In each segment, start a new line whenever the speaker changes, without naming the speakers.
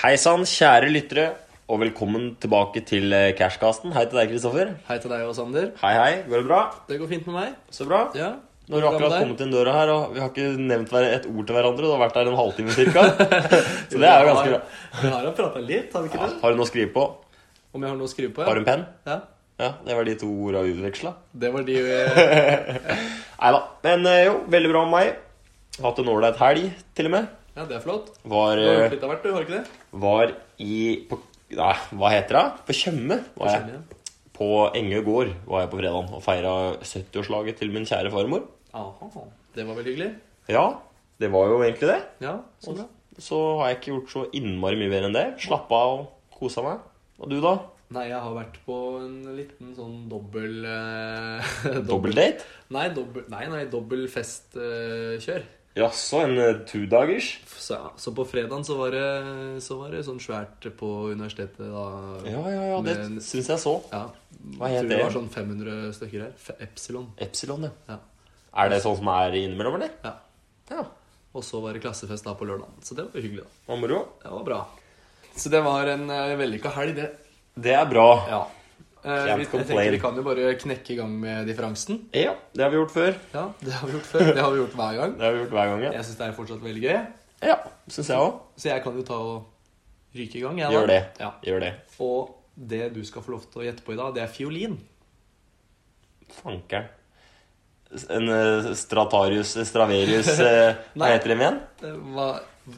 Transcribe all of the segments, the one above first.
Hei sann, kjære lyttere, og velkommen tilbake til eh, Cashcasten. Hei til deg, Kristoffer.
Hei til deg og Sander.
Hei, hei. Går det bra?
Det går fint med meg.
Så bra.
Ja.
Nå har vi akkurat kommet inn døra her, og vi har ikke nevnt hver- et ord til hverandre. Du har vært der en halvtime cirka. Så det er jo ganske bra.
Vi har jo prata litt, har vi ikke
Ja,
det?
har du noe å skrive på?
Om jeg har noe å skrive på?
Har du
Ja.
en penn?
ja.
Ja, det var de to orda vi utveksla.
Det var de eh,
Nei da. Men eh, jo, veldig bra med meg. Hatt en ålreit helg, til og med.
Ja, det er flott.
Var,
Du har
eh,
gjort litt av hvert, du, har du ikke det?
var i på, Nei, hva heter det? På Tjøme var jeg.
Forskjellige.
På Engø gård var jeg på fredagen og feira 70-årslaget til min kjære farmor.
Aha. Det var veldig hyggelig.
Ja, det var jo egentlig det.
Ja, så bra.
Så har jeg ikke gjort så innmari mye mer enn det. Slappa av og kosa meg. Og du, da?
Nei, jeg har vært på en liten sånn dobbel eh,
Dobbeldate?
Nei, dobbel, nei, nei, dobbel festkjør.
Jaså, en eh, todagers?
så, ja, så på fredagen så var, det, så var det sånn svært på universitetet da.
Ja, ja, ja, det
Men-
syns jeg så.
Ja.
Hva het det?
Tror det var sånn 500 stykker her. Fe- Epsilon.
Epsilon, ja.
Ja.
Er det sånn som er innimellom, eller?
ja.
Ja.
Og så var det klassefest da på lørdagen. Så det var jo hyggelig, da.
Det var moro.
Det var bra. Så det var en uh, vellykka helg, det.
Det er bra.
Ja. Eh,
Can't
vi, jeg
complain.
tenker vi kan jo bare knekke i gang med differansen.
Ja, det har vi gjort før.
Ja, det har vi gjort før. Det har vi gjort hver gang.
Det har vi gjort hver gang, ja.
Jeg syns det er fortsatt veldig gøy,
Ja, syns jeg òg.
så jeg kan jo ta og ryke i gang. Jeg, da.
Gjør det.
Ja.
Gjør det.
Og det du skal få lov til å gjette på i dag, det er fiolin.
Fankeren. En eh, Stratarius eh, Straverius eh, Hva
Nei.
heter de igjen?
Eh, Hva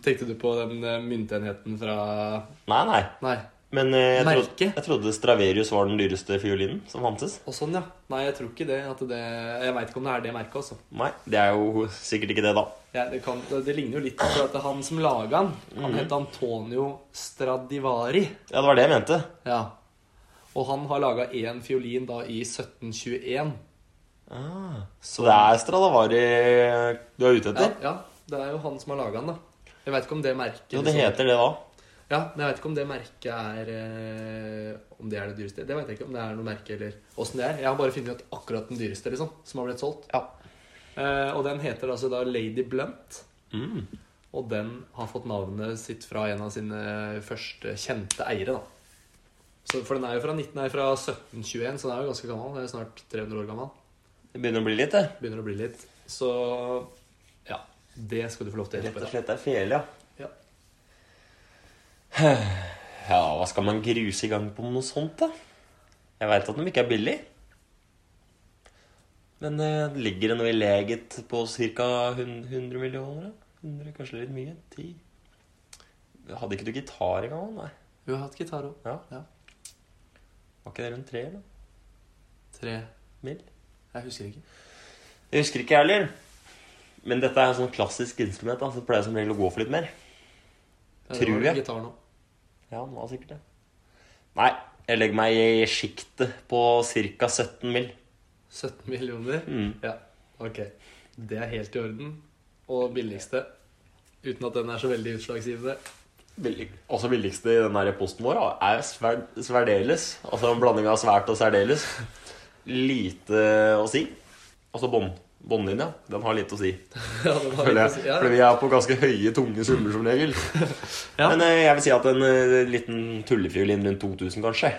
tenkte du på den eh, myntenheten fra
Nei, nei.
Nei.
Men eh, jeg,
Merke.
trodde, jeg trodde Straverius var den dyreste fiolinen som fantes.
Og sånn, ja. Nei, jeg tror ikke det. At det jeg veit ikke om det er det merket, altså.
Nei, det er jo sikkert ikke det, da.
Ja, det, kan, det, det ligner jo litt på at det er han som laga den.
Mhm.
Han het Antonio Stradivari.
Ja, det var det jeg mente.
Ja. Og han har laga én fiolin da i 1721.
Ah, Så det er Stradavari du er ute
Ja,
etter?
ja, det er jo han som har laga den, da. Jeg veit ikke om det merket
Jo, det
liksom-
heter det da.
Ja, men jeg vet ikke om det merket er eh, Om det er det dyreste. Det veit jeg ikke om det er noe merke eller åssen det er. Jeg har bare funnet ut akkurat den dyreste, liksom, som har blitt solgt.
Ja.
Eh, og den heter altså da Lady Blunt.
Mm.
Og den har fått navnet sitt fra en av sine første kjente eiere, da. Så, for den er jo fra, 19, nei, fra 1721, så den er jo ganske gammel. Den er jo snart 300 år gammel.
Det begynner å bli litt, det.
Begynner å bli litt. Så ja. Det skal du få lov til å
Rett og
gjette på.
slett er fele, ja.
Ja.
Ja, hva skal man gruse i gang på med noe sånt, da? Jeg veit at de ikke er billig. Men eh, det ligger det noe i leget på ca. 100 millioner? da? 100, kanskje litt mye? 10? Hadde ikke du gitar engang? Nei.
Hun har hatt gitar òg.
Ja.
Ja.
Var ikke det rundt 3 eller?
Tre
Mill?
Jeg husker ikke.
Jeg husker ikke, jeg heller. Men dette er sånn klassisk instrument. da, så det pleier som regel å gå for litt mer.
Ja, det
Tror
var
jeg.
Gitar nå.
Ja, den var sikkert det. Nei, jeg legger meg i sjiktet på ca. 17 mill.
17 millioner?
Mm.
Ja, ok. Det er helt i orden. Og billigste. Uten at den er så veldig utslagsgivende.
Billig. Også billigste altså, i den her posten vår da, er sver sverdeles. Altså en blanding av svært og særdeles. Lite å si. Altså bånd. Båndlinja. Den har lite å si,
ja, den har
føler
litt å
jeg.
si. Ja,
Fordi vi er på ganske høye, tunge summer som regel.
Ja.
Men eh, jeg vil si at en eh, liten tullefiolin rundt 2000, kanskje.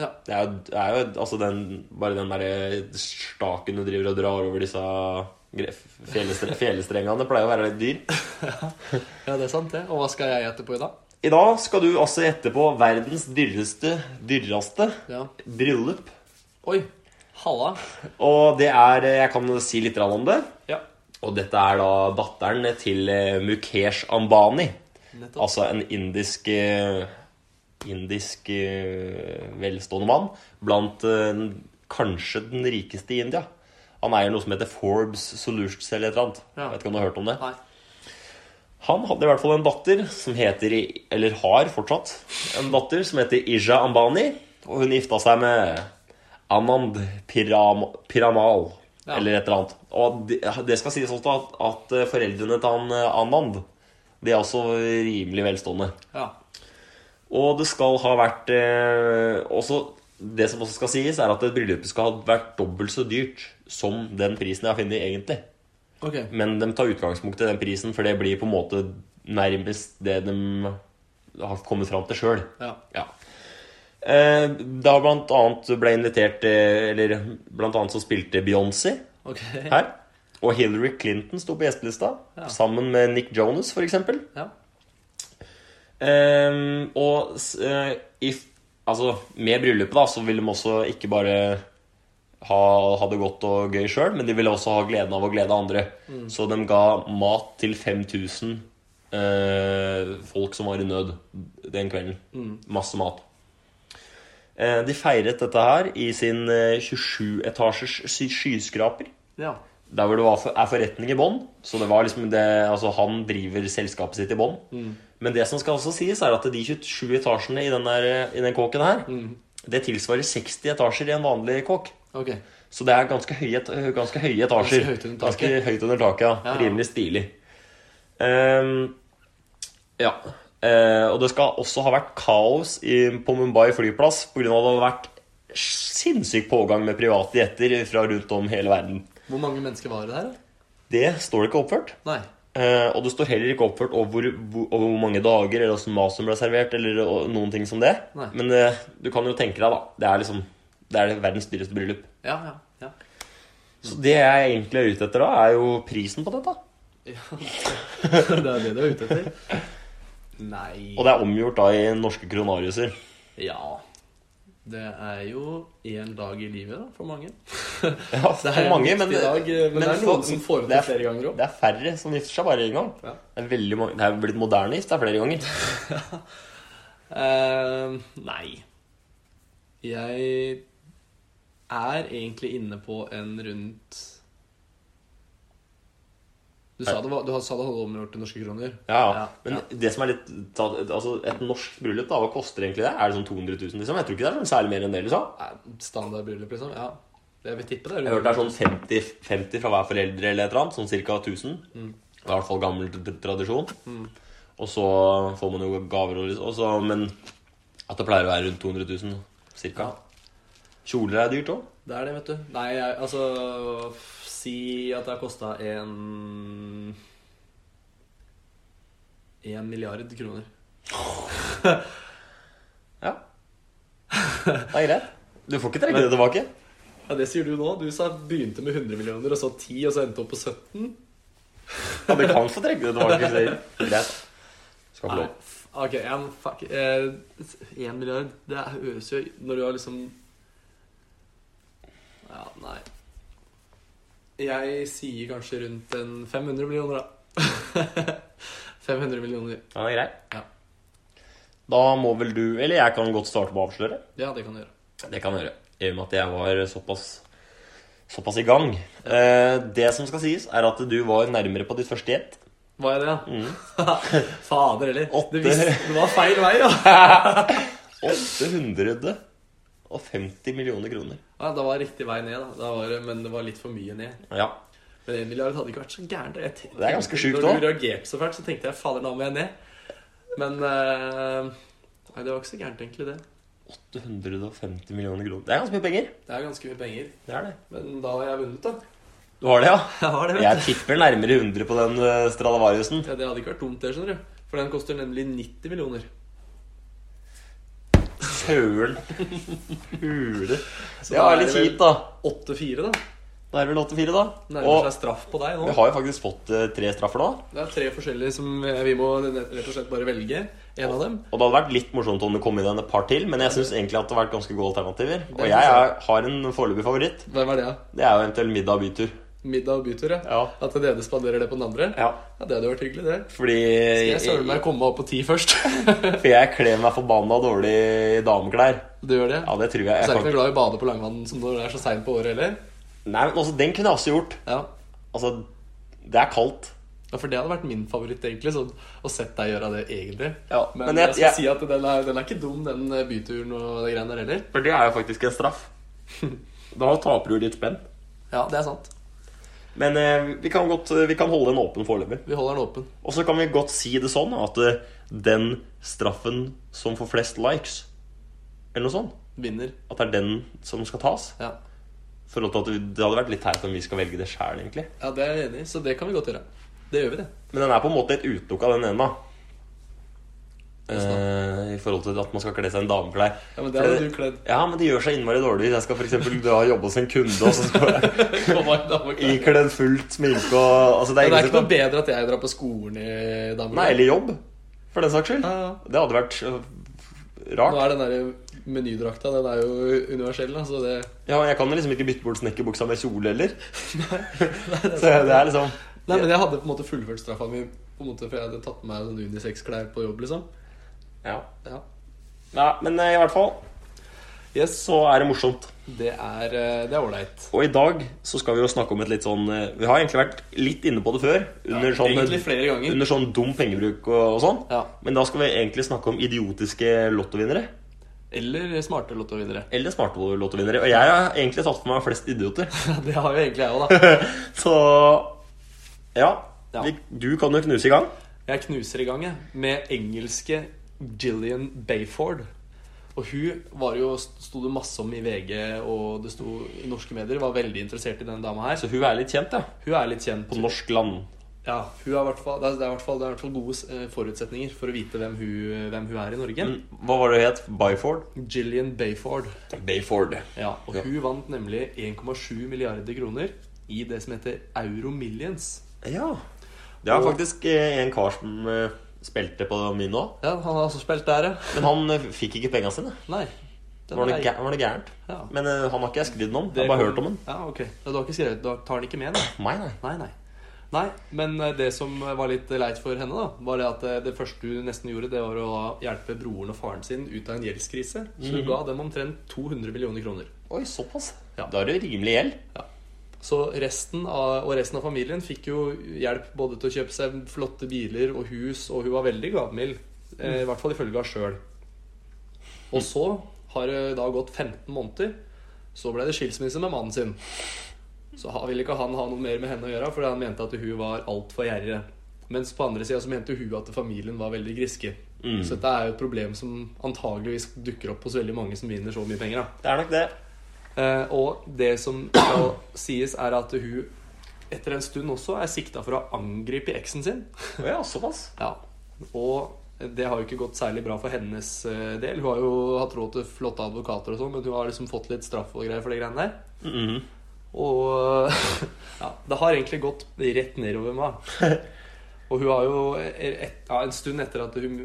ja.
Det er jo, det er jo altså den, bare den derre staken du driver og drar over disse gre- felestre- felestrengene, pleier å være litt dyr.
ja, det er sant, det. Og hva skal jeg gjette på i dag?
I dag skal du altså gjette på verdens dyreste, dyreste
Ja.
bryllup.
Oi! Halla.
Og det er eh, Jeg kan si litt grann om det.
Ja,
Og dette er da datteren til eh, Mukesh Ambani.
nettopp.
Altså en indisk eh, Indisk eh, velstående mann blant eh, den- kanskje den rikeste i India. Han eier noe som heter Forbes Solutions eller et eller annet.
Ja.
Vet ikke om du har hørt om det?
Nei.
Han hadde i hvert fall en datter som heter Eller har fortsatt en datter som heter Ija Ambani. Og hun gifta seg med Anand Piram Piramal.
Ja.
Eller et eller annet. Og det, det skal sies også at, at foreldrene til han eh, Anand De er også rimelig velstående.
Ja.
Og det skal ha vært eh, også, Det som også skal sies, er at bryllupet skal ha vært dobbelt så dyrt som den prisen jeg har funnet, egentlig.
Ok.
Mm. Men de tar utgangspunkt i den prisen, for det blir på en måte nærmest det de har kommet fram til sjøl.
Ja.
Ja. Eh, Da blant annet ble invitert eh, Eller blant annet så spilte Beyoncé
Ok.
her. Og Hillary Clinton sto på gjestelista,
Ja.
sammen med Nick Jonas, f.eks.
Ja.
Um, og s- eh, i, f- altså, med bryllupet da, så ville de også ikke bare ha, ha det godt og gøy sjøl, men de ville også ha gleden av å glede andre. Så de ga mat til 5000 eh, folk som var i nød den kvelden. Masse mat. Eh, de feiret dette her i sin eh, 27 etasjers sky- skyskraper.
ja.
Der hvor det var for, er forretning i bånn. Så det var liksom det, altså han driver selskapet sitt i bånn.
Mm.
Men det som skal også sies, er at de 27 etasjene i den, der, i den kåken her,
Mm.
det tilsvarer 60 etasjer i en vanlig kåk.
Ok.
Så det er ganske høye, et- hø- ganske høye etasjer.
Ganske høyt under taket.
Ganske høyt under taket, ja.
Ja, ja.
Rimelig stilig. Ehm, ja. Eh, og det skal også ha vært kaos i, på Mumbai flyplass pga. at det har vært sinnssyk pågang med private jetter fra rundt om hele verden.
Hvor mange mennesker var det der? da?
Det står det ikke oppført.
Nei.
Eh, og det står heller ikke oppført over hvor, hvor, over hvor mange dager eller hvordan mat som ble servert. Eller og, noen ting som det
Nei.
Men eh, du kan jo tenke deg, da. Det er liksom Det er verdens dyreste bryllup.
Ja, ja, ja.
Så det jeg egentlig er ute etter, da, er jo prisen på dette.
ja. det er det du er ute etter? Nei.
Og det er omgjort da i norske kronariuser.
Ja. Det er jo én dag i livet da, for mange.
Ja,
Det er
for mange, men,
viktig dag, eh, men, det er noen
for-
som får
det
det til
er-
flere ganger òg.
Det er færre som gifter seg bare én gang.
Ja.
Det er veldig mange Det er blitt moderne gift det er flere ganger.
Ehm, nei. Jeg er egentlig inne på en rundt Du sa det, var, du sa det hadde omgjort til norske kroner.
Ja, ja.
Ja,
Men
ja.
det som er litt Altså, et norsk bryllup, da, hva koster egentlig det? Er det sånn 200 000, liksom? Jeg tror ikke det er sånn særlig mer enn det, liksom.
Nei, Standardbryllup, liksom. Ja. Jeg vil tippe det. er
Jeg har hørt det er sånn 50, 50 fra hver foreldre eller et eller annet, sånn ca. 1000. Det er i hvert fall gammel t- t- tradisjon. Og så får man jo gaver og liksom og så- Men at det pleier å være rundt 200 000 ca. Kjoler er dyrt òg.
Det er det, vet du. Nei, jeg, altså f- Si at det har kosta en En milliard kroner.
Ja. Det er greit. Du får ikke trekke det tilbake.
Ja, Det sier du nå. Du sa begynte med 100 millioner, og så 10, og så endte opp på 17.
Ja, du kan få trekke det tilbake. sier jeg. Greit. Skal få
Nei,
lov.
f- ok, en, fuck, eh, en milliard Det høres jo Når du har liksom Ja, nei Jeg sier kanskje rundt en 500 millioner da 500 millioner
Ja, det er greit.
Ja.
Da må vel du, eller jeg kan godt starte med å avsløre.
Ja, det kan du gjøre
Det kan jeg gjøre. I og med at jeg var såpass, såpass i gang. Eh, det som skal sies, er at du var nærmere på ditt første gjett.
Hva er det? Fader, eller?
Åtte.
Det, visste, det var feil vei, da.
850 millioner kroner.
Ja, det var riktig vei ned, da. da var, det- men det var litt for mye ned.
Ja.
Men en milliard Eh, hadde ikke vært så gærent. Jeg tenkte-
Det er ganske sjukt
Når
også.
du reagerte så fælt, så tenkte jeg fader, nå må jeg ned. Men eh, Nei, det var ikke så gærent, egentlig, det.
850 millioner kroner. Det er ganske mye penger.
Det er ganske mye penger.
Det er det.
Men da har jeg vunnet, da.
Du har det, ja?
Jeg har det, vet
Jeg tipper nærmere 100 på den eh, Stradivariusen.
du. Ja, det hadde ikke vært dumt, det, skjønner du. For den koster nemlig 90 millioner.
Søren hule.
Så
Det er
da
litt
vel
kjipt, da.
8-4, da.
Da er det vel 84, da.
Nærmer
Og
seg straff på deg nå.
vi har jo faktisk fått eh, tre straffer nå.
Det er tre forskjellige som eh, vi må rett og slett bare velge. En av dem.
Og det hadde vært litt morsomt om det kom inn en et par til, men jeg syns egentlig at det har vært ganske gode alternativer. Og
Det
jeg
synes
er, har en foreløpig favoritt.
Hvem er det, da?
Det er jo eventuelt middag og bytur.
Middag og bytur, ja.
Ja.
At den ene spanderer det på den andre?
ja.
Ja, Det hadde vært hyggelig, det.
Fordi
Jeg søren meg komme opp på ti først.
for jeg kler meg forbanna dårlig i dameklær.
Du gjør det?
Ja, det tror jeg.
Så
jeg
er du
kan...
ikke noe glad i å bade på langvann som når det er så seint på året heller?
Nei, men også, Den kunne jeg også gjort.
Ja.
Altså, det er kaldt.
ja, for det hadde vært min favoritt, egentlig. Sånn, å sett deg gjøre det, egentlig.
Ja,
Men,
men
jeg,
jeg-
skal
jeg-
si at den er, den er ikke dum, den eh, byturen og de greiene der heller.
For det er jo faktisk en straff. da taper du litt spenn.
Ja, det er sant.
Men eh, vi, kan godt, vi kan holde den åpen foreløpig.
Vi holder den åpen.
Og så kan vi godt si det sånn at eh, den straffen som får flest likes, eller noe sånt
Vinner.
At det er den som skal tas.
Ja.
For at det hadde vært litt teit om vi skal velge det sjæl, egentlig.
ja, det er jeg enig i, så det kan vi godt gjøre. Det gjør vi, det.
Men den er på en måte et utelukk av den ene, da. Eh,
Hvordan da?
i forhold til at man skal kle seg i en dameklær.
Ja, men det hadde du kledd.
Ja, men det gjør seg innmari dårlig hvis jeg skal for eksempel dra og jobbe hos en kunde, og så skal jeg
Komme i dameklær.
ikledd fullt sminke og altså, det
Men
er
det er ikke
ingen som
noe bedre at jeg drar på skolen i
Nei,
dameklær.
eller jobb, for den saks skyld.
Ja, ja.
Det hadde vært øh, rart.
Nå er den der menydrakta den er jo universell, da, så det
Ja, jeg kan jo liksom ikke bytte bort snekkerbuksa med kjole heller. Så det er liksom
Nei, men jeg hadde på en måte fullført straffa mi, på en måte, for jeg hadde tatt på meg sånn unisex-klær på jobb, liksom.
Ja.
Ja.
Nei, men eh, i hvert fall
Yes,
så er det morsomt.
det er eh, Det er ålreit.
Og i dag så skal vi jo snakke om et litt sånn eh, Vi har egentlig vært litt inne på det før. Under,
Ja, egentlig
sånn,
flere ganger.
under sånn dum pengebruk og, og sånn.
Ja.
Men da skal vi egentlig snakke om idiotiske lottovinnere.
Eller smarte lottovinnere.
Eller smarte lottovinnere. Og jeg har egentlig tatt for meg flest idioter.
det har jo egentlig jeg òg, da.
Så ja.
Ja.
Vi, du kan jo knuse i gang.
Jeg knuser i gang jeg, med engelske Gillian Bayford. Og hun var jo, sto det masse om i VG og det sto i norske medier. Var veldig interessert i den dama her.
Så hun er litt kjent, ja.
Hun er litt kjent.
På norsk land.
Ja, hun er i hvert fall, det er det er i hvert fall, det er i hvert fall gode eh, forutsetninger for å vite hvem hun, hvem hun er i Norge.
Mm, Hva var det hun het? Byford?
Mm. Gillian Bayford.
Bayford.
Ja, og
Ja.
hun vant nemlig 1,7 milliarder kroner i det som heter Euro Millions.
Ja. Det er
Og-
faktisk eh, en kar som eh, spilte på min nå.
Ja, han har også spilt der, ja.
Men han eh, fikk ikke penga sine.
Nei. den
Var det,
er-
gæ- var det gærent?
Ja.
Men eh, han har ikke jeg skrevet noe om. Jeg
Det
har bare
kom-
hørt om den.
Ja, ok. Ja, Du har ikke skrevet, du har- tar den ikke med, da?
Nei, nei.
Nei, nei. Nei, men eh, det som var litt leit for henne, da, var det at eh, det første hun nesten gjorde, det var å hjelpe broren og faren sin ut av en gjeldskrise. Så hun ga dem omtrent 200 millioner kroner.
Oi, såpass.
Ja.
Da er det rimelig gjeld.
Så resten av, og resten av familien fikk jo hjelp både til å kjøpe seg flotte biler og hus, og hun var veldig gavmild. eh, I hvert fall ifølge henne sjøl. Og så har det da gått 15 måneder. Så ble det skilsmisse med mannen sin. Så ha- ville ikke han ha noe mer med henne å gjøre, fordi han mente at hun var altfor gjerrig. Mens på andre sida så mente hun at familien var veldig griske.
Mm.
Så dette er jo et problem som antageligvis dukker opp hos veldig mange som vinner så mye penger. da.
Det er nok det.
Eh, og det som skal sies, er at hun etter en stund også er sikta for å ha angrepet eksen sin.
Å ja, såpass.
Ja. Og det har jo ikke gått særlig bra for hennes eh, del. Hun har jo hatt råd til flotte advokater og sånn, men hun har liksom fått litt straff og greier for de greiene der. Mm-hmm.
Mhm.
Og ja, det har egentlig gått rett nedover meg. Og hun har jo et, ja, En stund etter at hun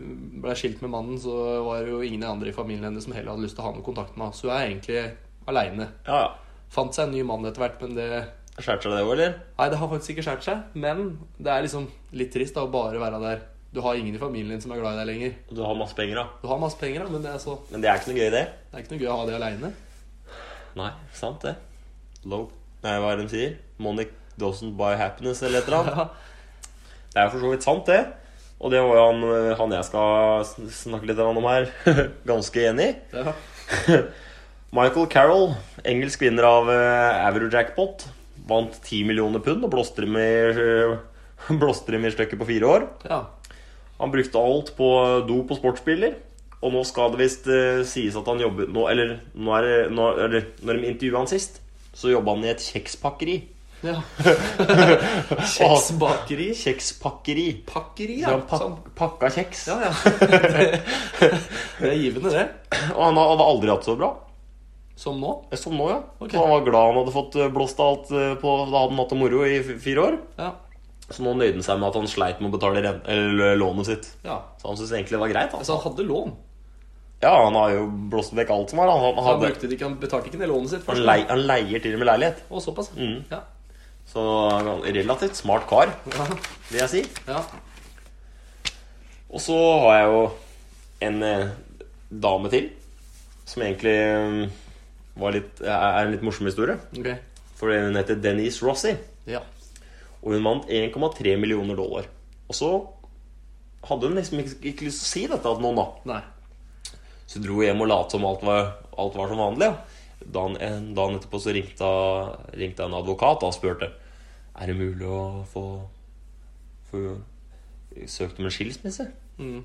ble skilt med mannen, så var det jo ingen andre i familien hennes som heller hadde lyst til å ha noe kontakt med henne. Så hun er egentlig aleine.
Ja, ja.
Fant seg en ny mann etter hvert, men det
Skjærte seg det òg, eller?
Nei, det har faktisk ikke skjært seg. Men det er liksom litt trist da, å bare være der. Du har ingen i familien din som er glad i deg lenger.
Du har masse penger, da.
Du har masse penger, da, men det er, så,
Men det er ikke noe gøy, det.
det er ikke noe gøy å ha det aleine.
Nei, sant det. Low. Nei, hva er det de sier? Money doesn't buy happiness, eller et eller annet.
Ja.
Det er for så vidt sant, det. Og det var jo han, eh, han jeg skal sn- snakke litt om her, ganske enig i.
Ja.
Michael Carroll, engelsk vinner av eh, Eurojackpot, vant 10 millioner pund og blåste dem i, eh, blåste dem i stykker på fire år.
ja.
Han brukte alt på dop og sportsbiler. Og nå skal det visst eh, sies at han jobber nå, Eller nå er det, nå, eller, når de intervjuet han sist, så jobba han i et kjekspakkeri.
ja. Kjeksbakeri.
Kjekspakkeri.
Pakkeri,
Så
ja.
han pak
Sånn.
pakka kjeks.
Ja, ja. Det, det er givende, det.
Og han hadde aldri hatt det så bra.
Som nå.
Som nå, ja.
Ok.
Så han var glad han hadde fått eh, blåst av alt eh, på Da hadde han hatt det moro i f- fire år.
Ja.
Så nå nøyde han seg med at han sleit med å betale ren- eller lånet sitt.
ja.
Så han syntes egentlig det var greit. Han.
Altså, han hadde lån.
Ja, han har jo blåst vekk alt som var. Han, han,
Han,
hadde,
brukte det ikke, han betalte ikke ned lånet sitt.
han,
Først.
lei, han leier til og med leilighet.
Og såpass.
Mm.
Ja.
Så han er en relativt smart kar,
Ja.
vil jeg si.
ja.
Og så har jeg jo en eh, dame til som egentlig eh, var litt, er en litt morsom historie.
Ok.
For hun heter Denise Rossi,
Ja.
og hun vant 1,3 millioner dollar. Og så hadde hun liksom ikke, ikke lyst til å si dette til noen, da.
Nei.
Så dro jeg hjem og lot som alt var, alt var som vanlig. Ja. Dagen, en, dagen etterpå så ringte, hun- ringte en advokat og spurte Er det mulig å få, få søkt om en skilsmisse.
Mm.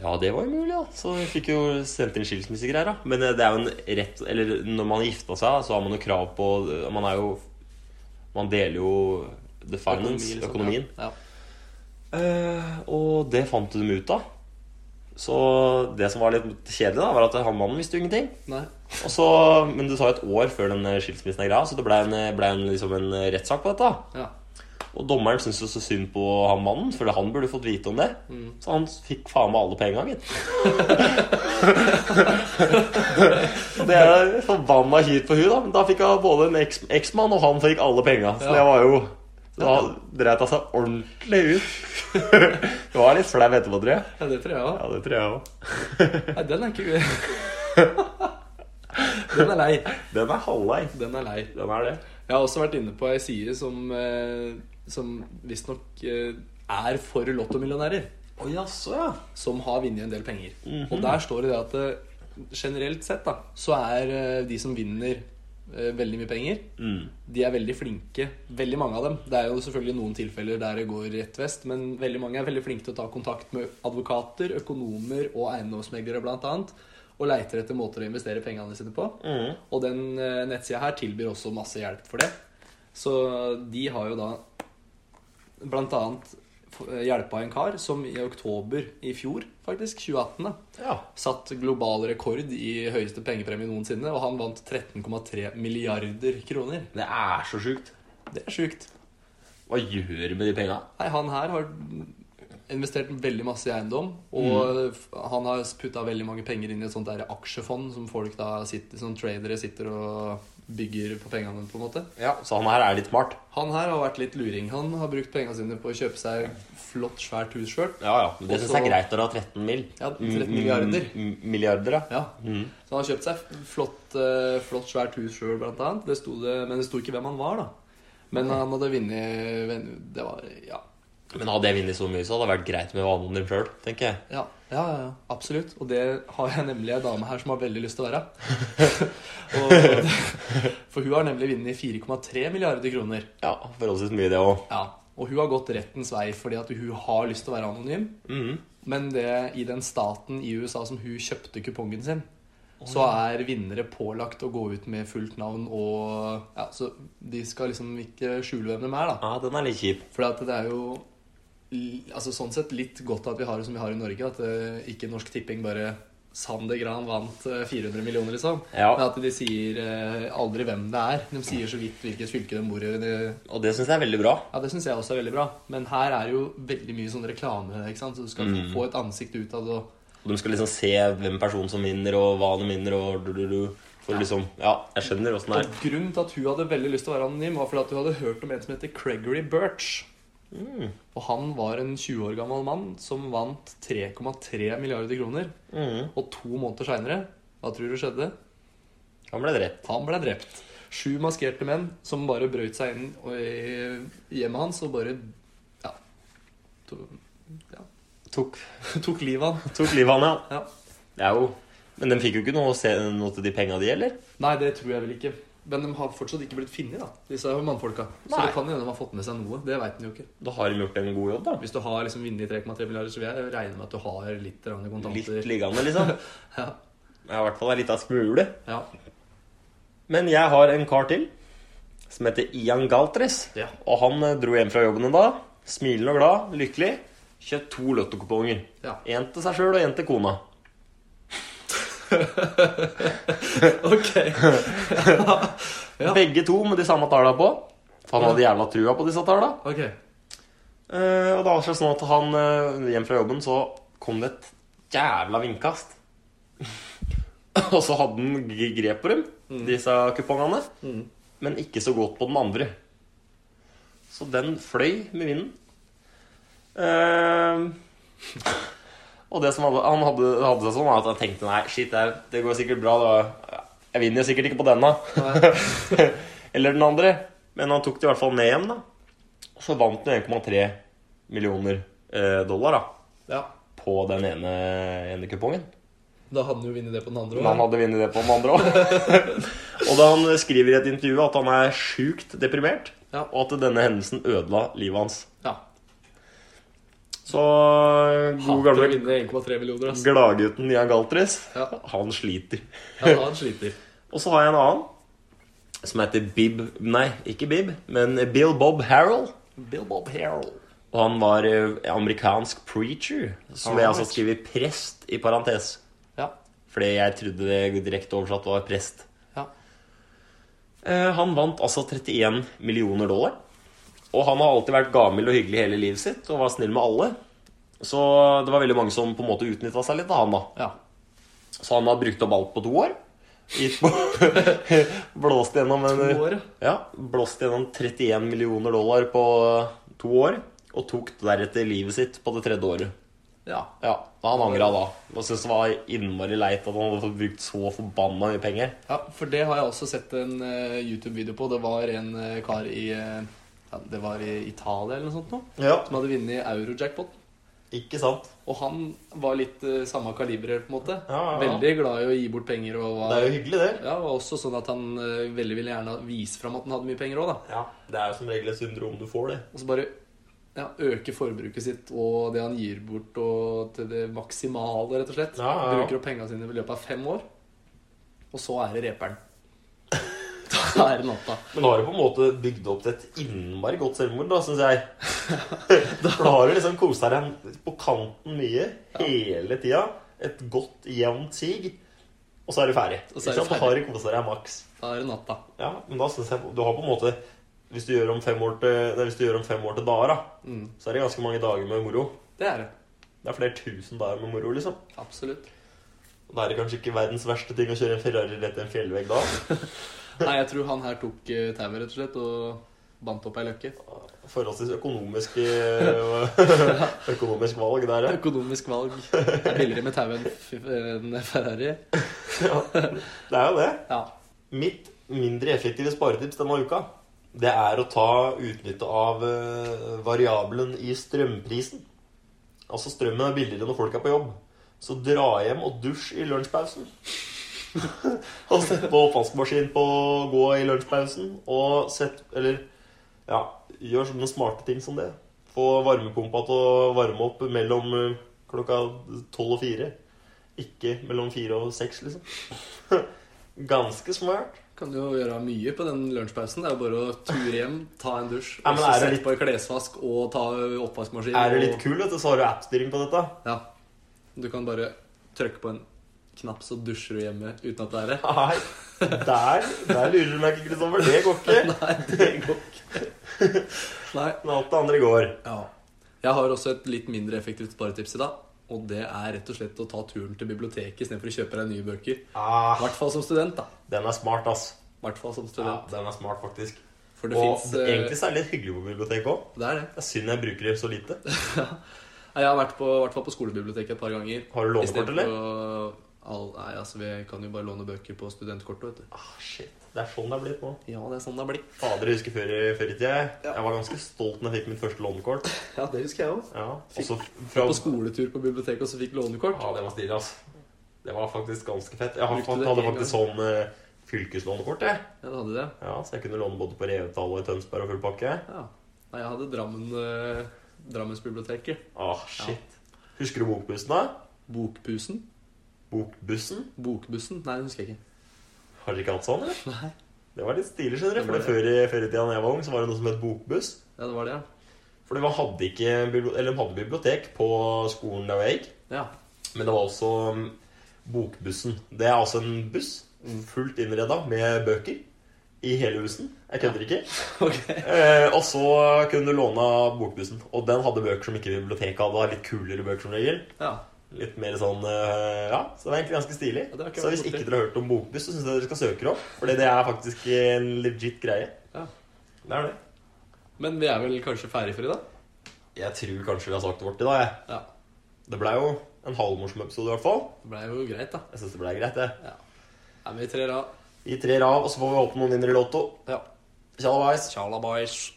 Ja, det var jo mulig, da. Så vi fikk jo sendt inn skilsmissegreier. da. Men eh, det er jo en rett Eller når man har gifta seg, så har man jo krav på Man er jo Man deler jo the
liksom.
finance,
Økonomi, liksom.
økonomien.
Ja.
Eh, og det fant de ut av. Så det som var litt kjedelig, da, var at han mannen visste jo ingenting.
Nei.
Og så, men det tar jo et år før den eh, skilsmissen er greia, så det ble en, ble en, liksom en eh, rettssak på dette.
Ja.
Og dommeren syntes jo så synd på han mannen, for han burde fått vite om det. Så han fikk faen meg alle på en gang, gitt. det er forbanna hyrt på hun da. Men da fikk hun både en eks- eksmann, og han fikk alle penga. Så
Ja.
det var jo Da dreit hun seg ordentlig ut. det var litt flau etterpå, tror jeg.
ja, det tror jeg òg.
Ja, det tror jeg òg.
Nei, den er ikke Den er lei.
Den er halvlei.
Den er lei.
Den er det.
Jeg har også vært inne på ei side som, eh, som visstnok eh, er for lottomillionærer.
Å jaså, ja.
som har vunnet en del penger.
Mhm.
Og der står det det at eh, generelt sett da, så er eh, de som vinner eh, veldig mye penger,
Mm.
de er veldig flinke. Veldig mange av dem. Det er jo selvfølgelig noen tilfeller der det går rett vest, men veldig mange er veldig flinke til å ta kontakt med advokater, økonomer og eiendomsmeglere blant annet, og leiter etter måter å investere pengene sine på.
Mm.
Og den eh, nettsida her tilbyr også masse hjelp for det. Så de har jo da blant annet f- hjelpa en kar som i oktober i fjor, faktisk, 2018, da,
Ja.
satt global rekord i høyeste pengepremie noensinne, og han vant 13,3 milliarder kroner.
Det er så sjukt.
Det er sjukt.
Hva gjør du med de penga?
Nei, han her har investert veldig masse i eiendom, og f- han har putta veldig mange penger inn i et sånt der aksjefond som folk da sitter, som tradere sitter og bygger på pengene, på en måte.
Ja, så han her er litt smart.
Han her har vært litt luring. Han har brukt pengene sine på å kjøpe seg flott, svært hus sjøl.
Ja, ja. Men det
Og
syns
så-
jeg er greit når du har 13 mill.
Ja, 13 milliarder.
Mm, mm, Milliarder, Mm. ja.
Ja. Så han har kjøpt seg flott, eh, flott svært hus sjøl, blant annet. Det sto det, men det sto ikke hvem han var, da. Men han hadde vunnet vunnet- Det var Ja.
Men hadde jeg vunnet så mye, så hadde det vært greit med å være anonym sjøl, tenker jeg.
Ja, ja, ja, ja, absolutt. Og det har jeg nemlig ei dame her som har veldig lyst til å være. og, for hun har nemlig vunnet 4,3 milliarder kroner.
Ja, forholdsvis mye, det òg.
Ja, Og hun har gått rettens vei fordi at hun har lyst til å være anonym.
Mm.
Men det, i den staten i USA som hun kjøpte kupongen sin, så er vinnere pålagt å gå ut med fullt navn og ja, Så de skal liksom ikke skjule hvem de er, da.
Ja, den er litt kjip.
For at det er jo l- altså sånn sett litt godt at vi har det som vi har i Norge. At eh, ikke Norsk Tipping bare Sander Gran vant eh, 400 millioner, liksom.
Ja.
Men at de sier eh, aldri hvem det er. De sier så vidt hvilket fylke de bor i. Det-
Og det syns jeg er veldig bra.
Ja, Det syns jeg også er veldig bra. Men her er jo veldig mye sånn reklame. ikke sant? Så du skal få- få et ansikt ut av det. og-
De skal liksom se hvem personen som vinner, og hva han vinner, og du, du, du. For liksom Ja, jeg skjønner åssen det
Og
er.
grunnen til at hun hadde veldig lyst til å være anonym, var fordi at hun hadde hørt om en som heter Gregory Birch. Og han var en 20 år gammel mann som vant 3,3 milliarder kroner.
Mhm.
Og to måneder seinere, hva tror du skjedde?
Han ble drept.
Han ble drept. Sju maskerte menn som bare brøt seg inn og i hjemmet hans og bare ja, to, ja,
Tok,
tok livet av han.
tok livet av han, ja.
Ja.
Det er jo Men de fikk jo ikke noe, å se, noe til de penga de, eller?
Nei, det tror jeg vel ikke. Men de har fortsatt ikke blitt funnet, da, disse mannfolka. Så
Nei.
det kan hende de har fått med seg noe. Det veit en jo ikke.
Da har de gjort en god jobb, da.
Hvis du har liksom vunnet 3,3 milliarder, så vil jeg regne med at du har litt grann
Litt
kontanter.
liggende, liksom.
Ja,
Ja, i hvert fall ei lita smule.
ja,
Men jeg har en kar til som heter Ian Galtres.
Ja.
Og han eh, dro hjem fra jobben en dag, smilende og glad, lykkelig. Kjøpt to lottokuponger.
ja.
Én til seg sjøl og én til kona.
Ok. Ja.
Begge to med de samme talla på. For han
Ja.
hadde jævla trua på disse talla.
Ok.
Eh, og det var slik sånn at han eh, hjem fra jobben så kom det et jævla vindkast. og så hadde han g- grep på dem,
Mm.
disse kupongene. Men ikke så godt på den andre. Så den fløy med vinden. Eh, og det som hadde, han hadde, hadde seg sånn, var at han tenkte nei, shit, det, er- det går sikkert bra. Da. Jeg vinner jo sikkert ikke på denne.
Nei.
Eller den andre. Men han tok det i hvert fall med hjem, da. Og så vant han 1,3 millioner eh, dollar da,
Ja.
på den ene, ene kupongen.
Da hadde han jo vunnet det på den andre
Men han
òg.
hadde vunnet det på den andre òg. og da han skriver i et intervju at han er sjukt deprimert,
Ja.
og at denne hendelsen ødela livet hans.
Ja.
Så god
Hater å
gamle
vinne 1,3 millioner, ass.
gladgutten Jan Galtris,
Ja.
han sliter.
Ja, han sliter.
Og så har jeg en annen som heter Bib Nei, ikke Bib, men Bill Bob Harrell.
Bill Bob Harrell.
Og han var eh, amerikansk preacher, som jeg altså
Alright.
skriver prest i parentes.
Ja.
Fordi jeg trodde det direkte oversatt var prest.
Ja.
Eh, Han vant altså 31 millioner dollar. Og han har alltid vært gavmild og hyggelig hele livet sitt og var snill med alle. Så det var veldig mange som på en måte utnytta seg litt av han, da.
ja.
Så han har brukt opp alt på to år. Gitt på Blåst gjennom en
To år, ja.
Ja, blåst gjennom 31 millioner dollar på eh, to år. Og tok deretter livet sitt på det tredje året.
ja.
Ja, og Han angra da. Og syntes det var innmari leit at han hadde fått brukt så forbanna mye penger.
Ja, for det har jeg også sett en eh, YouTube-video på. Det var en eh, kar i eh, ja, Det var i Italia eller noe sånt noe,
Ja,
som hadde vunnet eurojackpot.
ikke sant?
Og han var litt eh, samme kaliber, på en måte.
Ja, ja, ja.
Veldig glad i å gi bort penger. Og
Det
var,
er jo hyggelig, det.
ja, var også sånn at han eh, veldig ville gjerne vise fram at han hadde mye penger òg, da.
Ja, Det er jo som regel et syndrom du får, det.
Og så bare ja, øke forbruket sitt og det han gir bort, og til det maksimale, rett og slett.
Ja, ja, ja.
Bruker opp penga sine i løpet av fem år. Og så er det reperen. da er det natta.
Men da har du på en måte bygd opp til et innmari godt selvmord, da, syns jeg. For da har du liksom kosa deg på kanten mye hele tida. Et godt, jevnt sig. Og så er du ferdig.
Og så er
Ikke
du
sant? Da har du kosa deg maks.
Da er det natta.
Ja, men da synes jeg Du har på en måte Hvis du gjør om fem år til, nei, hvis du gjør om fem år til dager, da,
Mm.
så er det ganske mange dager med moro.
Det er det.
Det er flere tusen dager med moro, liksom.
Absolutt.
Da er det kanskje ikke verdens verste ting å kjøre en Ferrari rett i en fjellvegg da.
Nei, jeg tror han her tok eh, tauet, rett og slett, og bandt opp ei løkke.
Forholdsvis økonomisk, økonomisk valg der, ja.
Økonomisk valg. Det er billigere med tau enn f- enn Ferrari.
ja. Det er jo det.
Ja.
Mitt mindre effektive sparetips denne uka, det er å ta utnytte av eh, variabelen i strømprisen. Altså strømmen er billigere når folk er på jobb. Så dra hjem og dusj i lunsjpausen. og sett på oppvaskmaskin på å gå i lunsjpausen. Og sett Eller ja, gjør sånne smarte ting som det. Få varmepumpa til å varme opp mellom eh, klokka tolv og fire. Ikke mellom fire og seks, liksom. Ganske smart.
Kan jo gjøre mye på den lunsjpausen. Det er jo bare å ture hjem, ta en dusj,
Ja,
og
men
så
er det
sette
litt-
på en klesvask og ta oppvaskmaskin.
Er du litt
og-
kul, vet du, så har du app-styring på dette.
Ja. Du kan bare trykke på en knapp, så dusjer du hjemme uten at det er det.
Nei, der, der lurer du meg ikke, Kristoffer. Det går ikke.
Nei, det går ikke. Nei.
Men alt det andre går.
Ja. Jeg har også et litt mindre effektivt sparetips i dag. Og det er rett og slett å ta turen til biblioteket istedenfor å kjøpe deg nye bøker. I
Ah,
hvert fall som student, da.
den er smart, ass.
I hvert fall som
Ja,
student.
den er smart, faktisk.
For det eh,
Og
fins
egentlig så er det litt hyggelig på biblioteket òg.
Det er det.
Det er synd jeg bruker det så lite.
Nei, Jeg har vært på, i hvert fall på skolebiblioteket et par ganger.
Har du lånekort,
Istedenfor
eller?
å- All, nei, altså Vi kan jo bare låne bøker på studentkortet, vet du.
Ah, shit. Det er sånn det er blitt nå.
Ja, det er sånn det har blitt.
Fader, jeg husker før, i- før i tida. jeg- Jeg var ganske stolt når jeg fikk mitt første lånekort.
Ja, det husker jeg òg.
Ja, også fra...
På skoletur på biblioteket og så fikk lånekort.
Ja, det var stilig, ass. Det var faktisk ganske fett. Jeg har-
Brukte det
hadde
en
faktisk sånn eh, fylkeslånekort, jeg.
Ja, det hadde det.
Ja, så jeg kunne låne både på Revetal og i Tønsberg og full pakke.
Ja. Nei, jeg hadde Drammen, eh, Drammensbiblioteket.
Åh, Ah, shit. Husker du bokbussen, da?
Bokpusen?
Bokbussen?
Bokbussen? Nei, det husker jeg ikke.
Har dere ikke hatt sånn, eller?
Nei.
Det var litt stilig, skjønner
Det
du. For
var
det før, i- før i tida da jeg var ung, så var det noe som het bokbuss.
Ja, det var det, ja.
For de hadde ikke bibli- eller de hadde bibliotek på skolen der hvor jeg gikk.
Ja.
Men det var også mm, bokbussen. Det er altså en buss
Mm.
fullt innreda med bøker i hele bussen. Jeg kødder ikke.
Ok.
Eh, og så kunne du låne av bokbussen. Og den hadde bøker som ikke biblioteket hadde. Litt kulere bøker som regel.
Ja.
Litt mer sånn eh, Ja, så det var egentlig ganske stilig.
Ja, det har ikke
så
vært
hvis
borti.
ikke dere har hørt om Bokbuss, så syns jeg dere skal søke det opp. Fordi det er faktisk en legit greie.
ja.
Det er det.
Men vi er vel kanskje ferdig for i dag?
Jeg tror kanskje vi har sagt vårt i dag, jeg.
Ja.
Det blei jo en halvmorsom episode i hvert fall.
Det blei jo greit, da.
Jeg syns det blei greit, det.
Ja. Nei, men vi trer av.
Vi trer av, og så får vi håpe noen vinner i Lotto.
Ja.
Tjallabais.
Tjalabais.